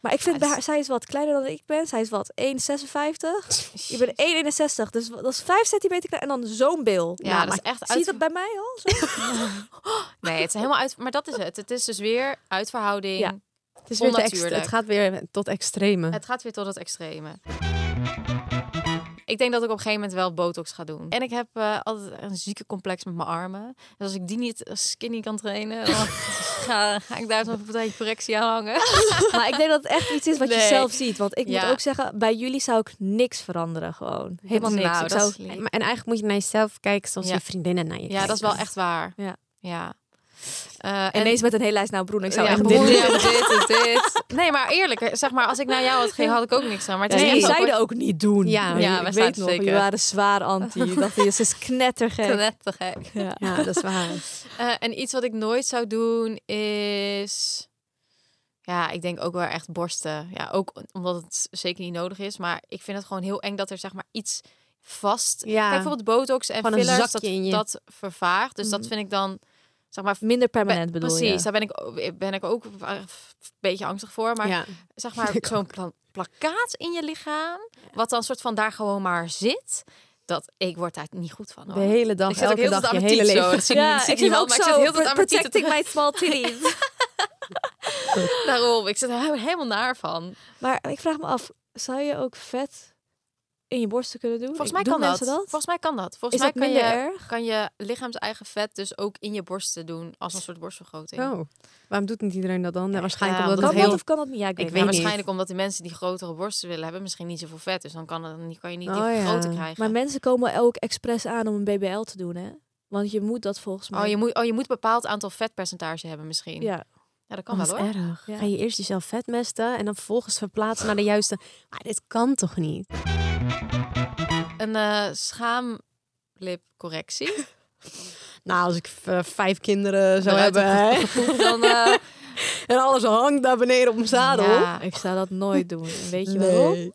Speaker 3: Maar ik vind,
Speaker 1: Ja,
Speaker 3: bij
Speaker 1: dus-
Speaker 3: haar, zij is wat kleiner dan ik ben. Zij is wat, 1,56? Je bent 1,61. Dus dat is 5 centimeter klein. En dan zo'n bil.
Speaker 1: Ja,
Speaker 3: Nou,
Speaker 1: dat
Speaker 3: maar
Speaker 1: is echt
Speaker 3: Zie je
Speaker 1: uit...
Speaker 3: dat bij mij al? Zo?
Speaker 1: Nee, het is helemaal uit... Maar dat is het. Het is dus weer uit verhouding.
Speaker 3: Ja.
Speaker 2: Het, is weer te ext-
Speaker 1: Onnatuurlijk.
Speaker 2: het gaat weer tot extreme.
Speaker 1: Het gaat weer tot het extreme. Ik denk dat ik op een gegeven moment wel botox ga doen. En ik heb eh, altijd een zieke complex met mijn armen. Dus als ik die niet skinny kan trainen, (laughs) dan ga, ga ik daar zo'n partij correctie aan hangen.
Speaker 3: (laughs) maar ik denk dat het echt iets is wat je
Speaker 1: Nee.
Speaker 3: zelf ziet. Want ik
Speaker 1: Ja.
Speaker 3: moet ook zeggen, bij jullie zou ik niks veranderen gewoon. Helemaal niks.
Speaker 1: Nou,
Speaker 3: ik
Speaker 1: dat
Speaker 3: zou...
Speaker 1: is lief.
Speaker 2: En, maar- en eigenlijk moet je naar jezelf kijken zoals
Speaker 1: Ja.
Speaker 2: je vriendinnen naar je
Speaker 1: Ja, dat is wel echt waar.
Speaker 3: Ja.
Speaker 1: ja. Eh, en-
Speaker 3: Ineens met een hele lijst. Nou, Broen, ik zou
Speaker 1: ja,
Speaker 3: echt
Speaker 1: broer,
Speaker 3: dit
Speaker 1: ja, dit
Speaker 2: (laughs)
Speaker 1: en dit. Nee, maar eerlijk, zeg maar, als ik naar jou had gegeven, had ik ook niks aan. Maar het is
Speaker 3: Nee,
Speaker 2: Nee,
Speaker 3: we
Speaker 1: echt ook
Speaker 3: zeiden ook niet doen.
Speaker 2: Ja,
Speaker 1: ja,
Speaker 3: ik
Speaker 1: wij
Speaker 3: weet
Speaker 1: zeiden
Speaker 3: nog,
Speaker 1: zeker.
Speaker 3: we waren zwaar (laughs) anti. Dat is is knettergek.
Speaker 1: wel net te gek.
Speaker 3: Ja.
Speaker 2: Ja, dat is waar.
Speaker 1: Eh, en iets wat ik nooit zou doen is. Ja, ik denk ook wel echt borsten. Ja, ook omdat het zeker niet nodig is. Maar ik vind het gewoon heel eng dat er zeg maar iets vast.
Speaker 2: (laughs) Ja.
Speaker 1: Kijk, bijvoorbeeld botox en
Speaker 2: Gewoon een
Speaker 1: fillers, dat,
Speaker 2: zakje in je. Mhm.
Speaker 1: dat vervaagt. Dus dat vind ik dan, zeg maar,
Speaker 3: Minder permanent
Speaker 1: ben-
Speaker 3: bedoel
Speaker 1: precies,
Speaker 3: je?
Speaker 1: daar ben ik, ook- ben ik ook eh, een beetje angstig voor. Maar
Speaker 2: ja.
Speaker 1: zeg (laughs) maar, zo'n pla- plakkaat in je lichaam, wat dan soort van daar gewoon maar zit. Dat, ik word daar niet goed van hoor.
Speaker 2: De hele dag,
Speaker 1: ik zit ook
Speaker 2: elke
Speaker 1: heel de
Speaker 2: dag,
Speaker 1: tijd aan
Speaker 2: je
Speaker 1: mijn
Speaker 2: hele
Speaker 1: tiet zo.
Speaker 2: leven.
Speaker 1: Dat zie je niet- zie je niet wel, maar ik zit heel de tijd aan mijn tieten te
Speaker 3: protecting my small titties.
Speaker 1: (laughs) Daarom, ik zit er helemaal naar van.
Speaker 3: maar ik vraag me af, zou je ook vet in je borsten kunnen doen?
Speaker 1: Volgens
Speaker 3: Ik-
Speaker 1: mij
Speaker 3: doen
Speaker 1: kan dat.
Speaker 3: mensen dat.
Speaker 1: Volgens mij kan dat.
Speaker 3: is
Speaker 1: Volgens
Speaker 3: dat
Speaker 1: mij kan
Speaker 3: minder
Speaker 1: je,
Speaker 3: erg?
Speaker 1: kan je lichaams-eigen vet dus ook in je borsten doen als een soort borstvergroting.
Speaker 2: Oh, waarom doet niet iedereen dat dan? Nou, waarschijnlijk
Speaker 1: ja,
Speaker 2: omdat
Speaker 3: Kan
Speaker 2: het
Speaker 1: omdat
Speaker 3: dat
Speaker 2: heel...
Speaker 3: of kan dat niet? Ja,
Speaker 2: Ik
Speaker 3: ik,
Speaker 1: Ja,
Speaker 2: weet
Speaker 3: het
Speaker 2: niet.
Speaker 1: waarschijnlijk omdat die mensen die grotere borsten willen hebben misschien niet zoveel vet. Dus dan kan, het, dan kan je niet die
Speaker 2: Oh, ja.
Speaker 1: grote
Speaker 3: niet.
Speaker 1: krijgen.
Speaker 3: Maar mensen komen ook expres aan om een BBL te doen, hè? Want je moet dat volgens mij.
Speaker 1: Oh je, moet, oh, je moet een bepaald aantal vetpercentage hebben misschien. Ja,
Speaker 3: Ja.
Speaker 1: dat kan
Speaker 2: Oh, dat
Speaker 1: wel
Speaker 2: is
Speaker 1: hoor.
Speaker 2: erg.
Speaker 3: Ja.
Speaker 2: Ga je eerst jezelf vetmesten en dan vervolgens verplaatsen naar de juiste... Maar dit kan toch niet?
Speaker 1: Een eh schaamlipcorrectie. (laughs)
Speaker 2: Nou, als ik v- vijf kinderen zou
Speaker 1: Dan uit de
Speaker 2: hebben hè,
Speaker 1: Poep, dan, eh,
Speaker 2: en alles hangt daar beneden op mijn zadel...
Speaker 1: ja.
Speaker 3: Ik zou dat nooit doen.
Speaker 1: (laughs)
Speaker 3: En Weet je
Speaker 2: Nee.
Speaker 3: waarom?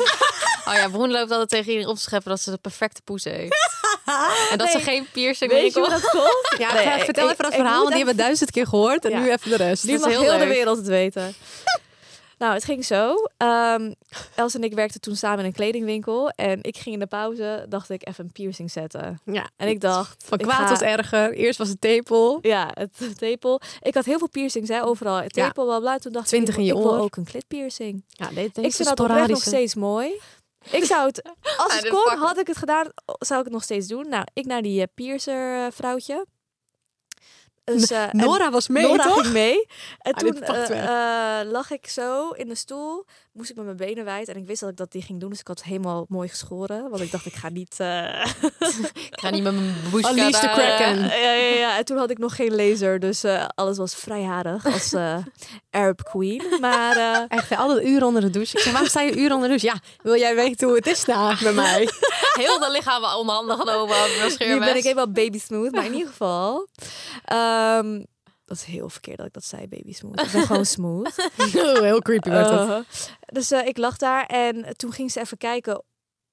Speaker 2: (laughs)
Speaker 1: Oh ja, Broen loopt altijd tegen iedereen op te scheppen dat ze de perfecte poes heeft. En dat ze geen piercing
Speaker 3: Weet je
Speaker 1: meer
Speaker 3: hoe dat
Speaker 1: (laughs)
Speaker 3: komt?
Speaker 2: Ja,
Speaker 3: Nee,
Speaker 2: ver-
Speaker 3: ik-
Speaker 2: vertel
Speaker 3: ik-
Speaker 2: even dat
Speaker 3: ik
Speaker 2: verhaal,
Speaker 3: moet
Speaker 2: want die
Speaker 3: even-
Speaker 2: hebben we duizend keer gehoord. En
Speaker 3: Ja.
Speaker 2: nu even de rest.
Speaker 3: Nu
Speaker 2: Dat is
Speaker 3: mag heel
Speaker 2: leuk.
Speaker 3: de wereld het weten. (laughs) Nou, het ging zo. Ehm Els en ik werkten toen samen in een kledingwinkel. En ik ging in de pauze, dacht ik, even een piercing zetten.
Speaker 2: Ja.
Speaker 3: En ik dacht...
Speaker 2: Van
Speaker 3: ik
Speaker 2: kwaad
Speaker 3: ga-
Speaker 2: tot erger. Eerst was het tepel.
Speaker 3: Ja, het tepel. Ik had heel veel piercings, hè, overal. Het
Speaker 2: Ja.
Speaker 3: tepel, bla, bla. Toen dacht
Speaker 2: Twintig
Speaker 3: ik,
Speaker 2: in je
Speaker 3: ik wil
Speaker 2: oor.
Speaker 3: ook een clitpiercing.
Speaker 2: Ja, dit,
Speaker 3: Ik vind dat oprecht nog steeds mooi. Ik zou
Speaker 1: (laughs)
Speaker 3: het, als
Speaker 1: Ja,
Speaker 3: het
Speaker 1: dit
Speaker 3: kon,
Speaker 1: pak-
Speaker 3: had ik het gedaan, zou ik het nog steeds doen. Nou, ik naar die eh, piercer eh, vrouwtje. Dus, eh, en-
Speaker 2: Nora was mee,
Speaker 3: Nora
Speaker 2: toch?
Speaker 3: ging mee. En
Speaker 2: Ah, dit
Speaker 3: toen
Speaker 2: pakt
Speaker 3: eh,
Speaker 2: weg.
Speaker 3: eh, lag ik zo in de stoel. Moest ik met mijn benen wijd. En ik wist dat ik dat die ging doen. Dus ik had het helemaal mooi geschoren. Want ik dacht, ik ga niet... eh,
Speaker 1: Ik ga niet met mijn bushka
Speaker 2: Unleash the
Speaker 1: daar,
Speaker 2: Kraken.
Speaker 1: eh,
Speaker 3: ja, ja, ja, ja. En toen had ik nog geen laser. Dus eh, alles was vrijharig als
Speaker 2: (laughs)
Speaker 3: eh, Arab Queen. Maar... eh,
Speaker 2: Echt, hè, altijd uren onder de douche. Ik zei, waarom sta je uren onder de douche? Ja, wil jij weten hoe het is daar bij (laughs) mij?
Speaker 1: Heel de lichaam onder handen genomen. over een
Speaker 3: Nu ben ik
Speaker 1: scheermes.
Speaker 3: helemaal baby smooth, maar in ieder geval. ehm, dat is heel verkeerd dat ik dat zei, baby smooth. Ik ben gewoon
Speaker 2: (laughs)
Speaker 3: smooth.
Speaker 2: Oh, Heel creepy werd dat.
Speaker 3: Eh, dus eh, ik lag daar en toen ging ze even kijken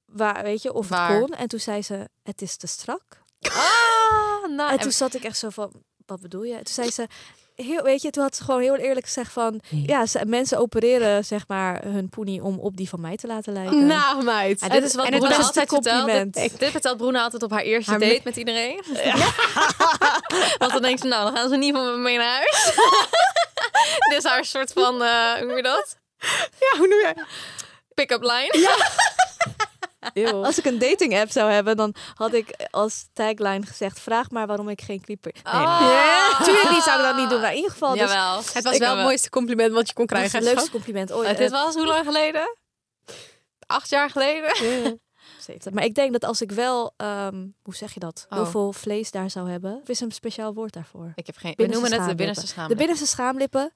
Speaker 3: waar, weet je, of
Speaker 1: Waar?
Speaker 3: het kon. En toen zei ze, het is te strak.
Speaker 1: Ah, nou,
Speaker 3: en toen zat ik echt zo van, wat bedoel je? En toen zei ze, heel, weet je, toen had ze gewoon heel eerlijk gezegd van... Ja, ze- mensen opereren zeg maar hun poenie om op die van mij te laten lijken.
Speaker 2: Nou, meid.
Speaker 1: Ja, dit is wat
Speaker 3: en het
Speaker 1: Bruna
Speaker 3: beste
Speaker 1: altijd vertelt.
Speaker 3: compliment.
Speaker 1: Dit, dit vertelt Bruna altijd op haar eerste
Speaker 2: Haar
Speaker 1: date
Speaker 2: me-
Speaker 1: met
Speaker 3: (laughs)
Speaker 1: iedereen. (laughs) Want dan denkt ze, nou, dan gaan ze niet van me mee naar huis. (laughs) dit is haar soort van, eh, hoe noem je dat?
Speaker 2: Ja, hoe noem jij?
Speaker 1: Pick-up line. Ja.
Speaker 3: (laughs) Als ik een dating app zou hebben, dan had ik als tagline gezegd: vraag maar waarom ik geen clipper. Nee, natuurlijk Oh. niet zou ik dat niet doen. Maar in ieder geval, dus
Speaker 1: Jawel.
Speaker 2: Het was wel het mooiste compliment wat je kon
Speaker 3: dat is
Speaker 2: krijgen.
Speaker 3: het leukste compliment ooit.
Speaker 1: dit was hoe lang geleden? Acht jaar geleden?
Speaker 3: (laughs) Eh, Maar ik denk dat als ik wel, ehm, hoe zeg je dat,
Speaker 1: Oh.
Speaker 3: heel veel vlees daar zou hebben, of is er een speciaal woord daarvoor?
Speaker 1: Ik heb geen... We
Speaker 3: Binnenste
Speaker 1: noemen het de
Speaker 3: schaamlippen.
Speaker 1: binnenste schaam.
Speaker 3: De binnenste schaamlippen.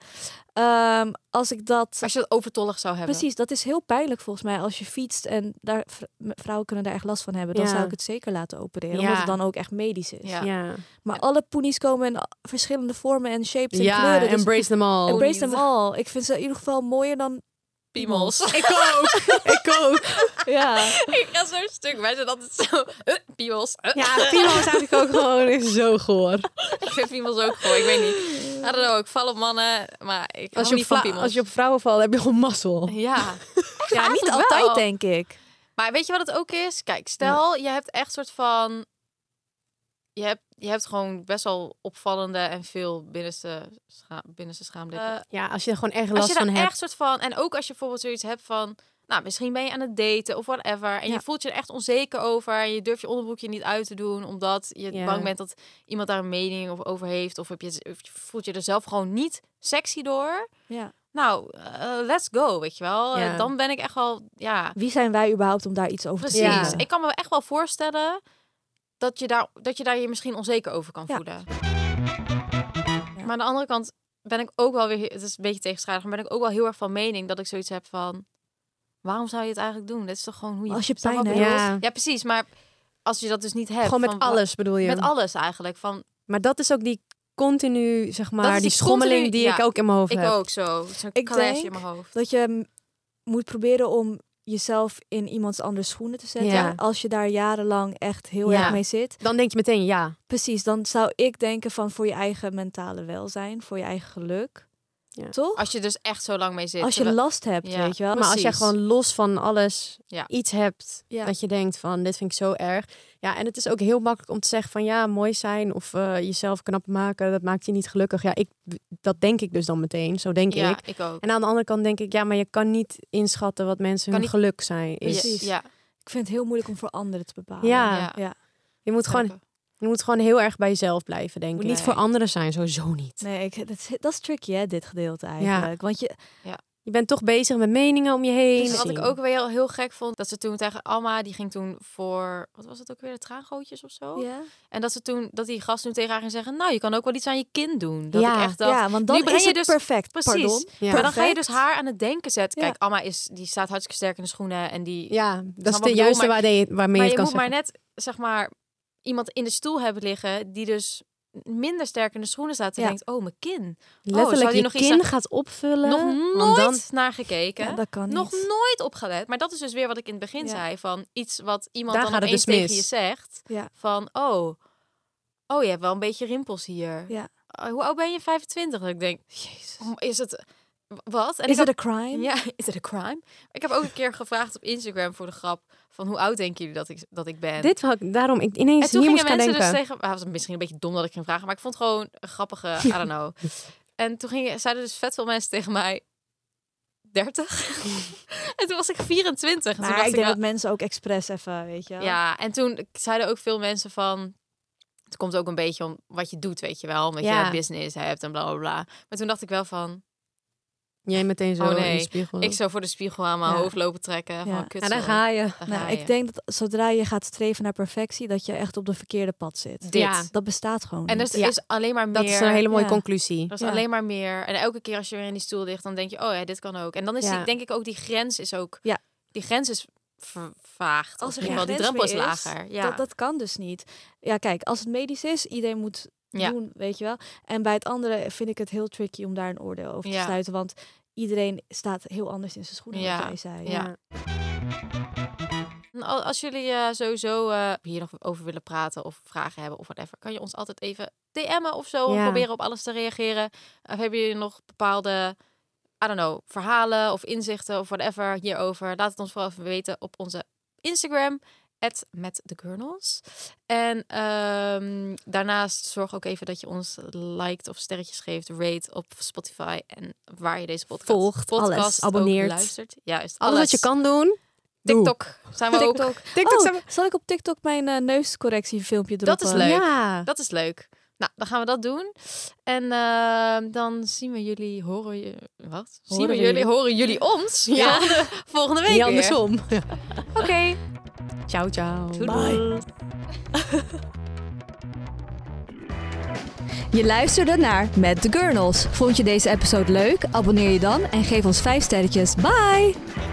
Speaker 3: Ehm, als ik dat.
Speaker 1: Als je het overtollig zou hebben.
Speaker 3: Precies, dat is heel pijnlijk volgens mij als je fietst en daar, vr- m- vrouwen kunnen daar echt last van hebben. Dan
Speaker 2: Ja.
Speaker 3: zou ik het zeker laten opereren,
Speaker 2: Ja.
Speaker 3: omdat het dan ook echt medisch is.
Speaker 1: Ja.
Speaker 2: Ja,
Speaker 3: Maar alle poenies komen in verschillende vormen en shapes en
Speaker 2: ja
Speaker 3: kleuren. dus
Speaker 2: embrace them all.
Speaker 3: Embrace them all. Ik vind ze in ieder geval mooier dan...
Speaker 1: Piemels. (laughs)
Speaker 2: Ik ook. ik ook.
Speaker 3: Ja.
Speaker 1: ik ga zo'n stuk. Wij zijn altijd zo... huh, piemels. huh.
Speaker 2: Ja, Pimo is eigenlijk ook gewoon echt zo goor.
Speaker 1: Ik vind piemels ook gooi. Ik weet niet. I don't know. Ik val op mannen, maar ik hou
Speaker 2: Als je, op
Speaker 1: niet van
Speaker 2: vla-
Speaker 1: piemels.
Speaker 2: als je op vrouwen valt, heb je gewoon mazzel.
Speaker 1: Ja.
Speaker 3: ja, (laughs) niet
Speaker 1: eigenlijk wel.
Speaker 3: altijd, denk ik.
Speaker 1: Maar weet je wat het ook is? Kijk, stel je hebt echt soort van... Je hebt, je hebt gewoon best wel opvallende en veel binnenste, scha binnenste schaamlippen.
Speaker 2: Ja, als je er gewoon echt
Speaker 1: als je
Speaker 2: Eh, last
Speaker 1: daar
Speaker 2: van
Speaker 1: echt
Speaker 2: hebt.
Speaker 1: soort van... En ook als je bijvoorbeeld zoiets hebt van... Nou, misschien ben je aan het daten of whatever. En
Speaker 3: Ja.
Speaker 1: je voelt je er echt onzeker over. En je durft je onderbroekje niet uit te doen. Omdat je
Speaker 2: Ja.
Speaker 1: bang bent dat iemand daar een mening of- over heeft. Of, heb je, of je voelt je er zelf gewoon niet sexy door.
Speaker 3: Ja.
Speaker 1: Nou, eh, let's go, weet je wel.
Speaker 2: Ja.
Speaker 1: Eh, dan ben ik echt wel... Ja,
Speaker 3: Wie zijn wij überhaupt om daar iets over
Speaker 1: Precies.
Speaker 3: te
Speaker 2: Ja.
Speaker 3: zeggen?
Speaker 1: Ik kan me echt wel voorstellen dat je daar, dat je, daar je misschien onzeker over kan
Speaker 3: Ja.
Speaker 1: voelen. Maar aan de andere kant ben ik ook wel weer, het is een beetje tegenstrijdig, maar ben ik ook wel heel erg van mening dat ik zoiets heb van, waarom zou je het eigenlijk doen? Dit is toch gewoon hoe je.
Speaker 3: Als je
Speaker 1: Snap
Speaker 3: pijn
Speaker 1: wat ik
Speaker 2: hebt.
Speaker 1: bedoel?
Speaker 2: Ja.
Speaker 1: Ja, precies. Maar als je dat dus niet hebt,
Speaker 2: Gewoon met
Speaker 1: van, wa-
Speaker 2: alles bedoel je.
Speaker 1: met alles eigenlijk. Van,
Speaker 2: Maar dat is ook die continu, zeg
Speaker 1: Dat
Speaker 2: maar,
Speaker 1: is
Speaker 2: die,
Speaker 1: die
Speaker 2: schommeling
Speaker 1: continu-
Speaker 2: die
Speaker 1: ja.
Speaker 2: ik ook in mijn hoofd
Speaker 1: ik
Speaker 2: heb.
Speaker 1: ook zo, zo'n
Speaker 3: Ik
Speaker 1: clash in
Speaker 3: denk
Speaker 1: mijn hoofd.
Speaker 3: Dat je mm, moet proberen om jezelf in iemands anders schoenen te zetten.
Speaker 2: Ja.
Speaker 3: Als je daar jarenlang echt heel
Speaker 2: Ja.
Speaker 3: erg mee zit.
Speaker 2: Dan denk je meteen ja.
Speaker 3: Precies, dan zou ik denken van voor je eigen mentale welzijn, voor je eigen geluk.
Speaker 2: Ja.
Speaker 3: Toch?
Speaker 1: Als je dus echt zo lang mee zit.
Speaker 3: Als je
Speaker 1: terwijl-
Speaker 3: last hebt,
Speaker 1: Ja.
Speaker 3: weet je wel.
Speaker 2: Maar als jij
Speaker 1: Precies.
Speaker 2: gewoon los van alles
Speaker 1: Ja.
Speaker 2: iets hebt
Speaker 3: Ja.
Speaker 2: dat je denkt van dit vind ik zo erg. Ja, en het is ook heel makkelijk om te zeggen van ja, mooi zijn of eh, jezelf knap maken, dat maakt je niet gelukkig. Ja, ik, dat denk ik dus dan meteen, zo denk
Speaker 1: ja,
Speaker 2: ik.
Speaker 1: ik ook.
Speaker 2: En aan de andere kant denk ik ja, maar je kan niet inschatten wat mensen
Speaker 1: Kan
Speaker 2: hun
Speaker 1: niet-
Speaker 2: geluk zijn. Is.
Speaker 3: Precies.
Speaker 1: Ja,
Speaker 3: Ik vind het heel moeilijk om voor anderen te bepalen.
Speaker 2: Ja.
Speaker 1: ja.
Speaker 3: Ja.
Speaker 2: Je moet gewoon je moet gewoon heel erg bij jezelf blijven denk
Speaker 1: Moet
Speaker 2: ik.
Speaker 1: niet
Speaker 2: Niet voor
Speaker 1: voor
Speaker 2: anderen zijn, sowieso niet.
Speaker 3: Nee, ik, dat, is, dat is tricky hè, dit gedeelte eigenlijk. Want je,
Speaker 2: Je bent toch bezig met meningen om je heen.
Speaker 1: Dus wat ik
Speaker 2: Zien.
Speaker 1: ook weer heel, heel gek vond, dat ze toen tegen Alma, die ging toen voor, wat was het ook weer, de traangootjes of zo?
Speaker 3: ja.
Speaker 1: En dat ze toen, dat die gast toen tegen haar ging zeggen, nou, je kan ook wel iets aan je kind doen. Dat
Speaker 2: Ja,
Speaker 1: ik echt dacht,
Speaker 3: ja, want dan
Speaker 1: nu breng
Speaker 3: is
Speaker 1: je
Speaker 3: het
Speaker 1: dus-
Speaker 3: perfect.
Speaker 1: precies.
Speaker 3: Pardon.
Speaker 2: Ja.
Speaker 1: Maar dan ga je dus
Speaker 3: Perfect.
Speaker 1: haar aan het denken zetten.
Speaker 3: Ja.
Speaker 1: Kijk, Alma is, die staat hartstikke sterk in de schoenen en die...
Speaker 2: Ja, dat is
Speaker 1: wat ik
Speaker 2: de
Speaker 1: bedoel,
Speaker 2: juiste
Speaker 1: maar-
Speaker 2: waarde- waarmee
Speaker 1: maar
Speaker 2: je
Speaker 1: je
Speaker 2: het
Speaker 1: moet
Speaker 2: kan
Speaker 1: maar
Speaker 2: zeggen.
Speaker 1: net, zeg maar, iemand in de stoel hebben liggen die dus minder sterk in de schoenen staat en
Speaker 3: Ja.
Speaker 1: denkt, oh, mijn kin. zou
Speaker 2: Letterlijk
Speaker 1: die
Speaker 2: je
Speaker 1: nog iets
Speaker 2: kin
Speaker 1: aan-
Speaker 2: gaat opvullen.
Speaker 1: Nog
Speaker 2: want
Speaker 1: nooit
Speaker 2: dan
Speaker 1: naar gekeken.
Speaker 3: Ja, dat kan
Speaker 1: nog
Speaker 3: niet.
Speaker 1: nooit opgelet. Maar dat is dus weer wat ik in het begin
Speaker 3: Ja.
Speaker 1: zei. Van iets wat iemand
Speaker 2: Daar
Speaker 1: dan
Speaker 2: gaat het
Speaker 1: opeens
Speaker 2: dus
Speaker 1: tegen
Speaker 2: mis.
Speaker 1: je zegt.
Speaker 3: Ja.
Speaker 1: Van, oh, oh, je hebt wel een beetje rimpels hier. Eh,
Speaker 3: Ja.
Speaker 1: Oh, hoe oud ben je? 25? Dat ik denk,
Speaker 3: Jezus.
Speaker 1: oh, is het... Wat? En
Speaker 3: Is
Speaker 1: ik
Speaker 3: het een crime?
Speaker 1: Ja, (laughs) is het een crime? Ik heb ook een keer gevraagd op Instagram voor de grap van hoe oud denken jullie dat ik, dat ik ben?
Speaker 2: Dit wou ik daarom ik ineens
Speaker 1: en toen
Speaker 2: hier
Speaker 1: gingen
Speaker 2: moest
Speaker 1: mensen
Speaker 2: gaan denken.
Speaker 1: dus tegen... Ah, was misschien een beetje dom dat ik ging vragen, maar ik vond het gewoon een grappige, I don't know.
Speaker 2: (laughs)
Speaker 1: En toen gingen, zeiden dus vet veel mensen tegen mij... 30? (laughs) en toen was ik 24.
Speaker 2: Nou,
Speaker 1: En toen
Speaker 3: Maar
Speaker 1: dacht
Speaker 3: ik denk
Speaker 1: wel-
Speaker 3: dat mensen ook expres even, weet je. wel.
Speaker 1: nou- ja, en toen zeiden ook veel mensen van... Het komt ook een beetje om wat je doet, weet je wel. Omdat
Speaker 2: Ja.
Speaker 1: je business hebt en bla, bla, bla. Maar toen dacht ik wel van...
Speaker 2: Jij meteen zo
Speaker 1: Oh,
Speaker 2: in
Speaker 1: nee.
Speaker 2: de spiegel.
Speaker 1: Ik zou voor de spiegel aan mijn
Speaker 3: Ja.
Speaker 1: hoofd lopen trekken.
Speaker 3: Ja.
Speaker 1: Van, kut,
Speaker 2: ja, daar
Speaker 1: zo.
Speaker 2: ga je.
Speaker 1: Daar ga
Speaker 3: Nou,
Speaker 1: je.
Speaker 3: ik denk dat zodra je gaat streven naar perfectie, dat je echt op de verkeerde pad zit.
Speaker 1: Dit.
Speaker 2: Ja.
Speaker 3: Dat bestaat gewoon.
Speaker 1: En
Speaker 3: niet.
Speaker 1: dat is,
Speaker 2: Ja.
Speaker 1: is alleen maar meer...
Speaker 2: Dat is een hele mooie
Speaker 3: Ja.
Speaker 2: conclusie.
Speaker 1: Dat is
Speaker 3: Ja.
Speaker 1: alleen maar meer. En elke keer als je weer in die stoel ligt, dan denk je, oh ja, dit kan ook. En dan is
Speaker 2: Ja.
Speaker 1: die, denk ik ook die grens is ook.
Speaker 3: Ja.
Speaker 1: Die grens is vervaagd. Als
Speaker 3: Als
Speaker 1: in
Speaker 3: er
Speaker 1: ieder
Speaker 3: geen
Speaker 1: geval die
Speaker 3: grens
Speaker 1: drempel is
Speaker 3: meer is,
Speaker 1: lager. Ja.
Speaker 3: dat, dat kan dus niet. Ja, kijk, als het medisch is, iedereen moet
Speaker 1: Ja.
Speaker 3: doen, weet je wel. En bij het andere vind ik het heel tricky om daar een oordeel over te
Speaker 1: Ja.
Speaker 3: sluiten. Want iedereen staat heel anders in zijn schoenen,
Speaker 1: Ja.
Speaker 3: wat jij zei.
Speaker 1: Ja. En al- Als jullie eh, sowieso eh, hier nog over willen praten of vragen hebben of whatever, kan je ons altijd even DM'en of zo.
Speaker 2: Ja.
Speaker 1: Of proberen op alles te reageren. Of hebben jullie nog bepaalde, I don't know, verhalen of inzichten of whatever hierover? Laat het ons vooral even weten op onze Instagram. At met de Gurnels. En ehm, daarnaast zorg ook even dat je ons liked of sterretjes geeft, rate op Spotify en waar je deze podcast
Speaker 2: Volgt, alles,
Speaker 1: podcast ook
Speaker 2: abonneert.
Speaker 1: luistert. Juist,
Speaker 2: Alles wat je kan doen. doe.
Speaker 1: TikTok zijn we ook.
Speaker 2: TikTok
Speaker 3: Oh,
Speaker 2: zijn we-
Speaker 3: zal ik op TikTok mijn eh, neuscorrectiefilmpje
Speaker 1: Dat
Speaker 3: droppen?
Speaker 1: is leuk.
Speaker 2: Ja.
Speaker 1: Dat is leuk. Nou, dan gaan we dat doen. En ehm, dan zien we jullie, horen je, wat? Zien
Speaker 3: Horen
Speaker 1: we
Speaker 3: we
Speaker 1: jullie,
Speaker 3: jullie.
Speaker 1: horen jullie ons?
Speaker 2: Ja.
Speaker 1: Volgende, (laughs) volgende week
Speaker 2: Niet
Speaker 1: weer.
Speaker 2: andersom.
Speaker 1: (laughs) Oké.
Speaker 2: Ciao, ciao.
Speaker 3: (laughs) Je luisterde naar Met de Gurnels. Vond je deze episode leuk? Abonneer je dan en geef ons 5 sterretjes. Bye!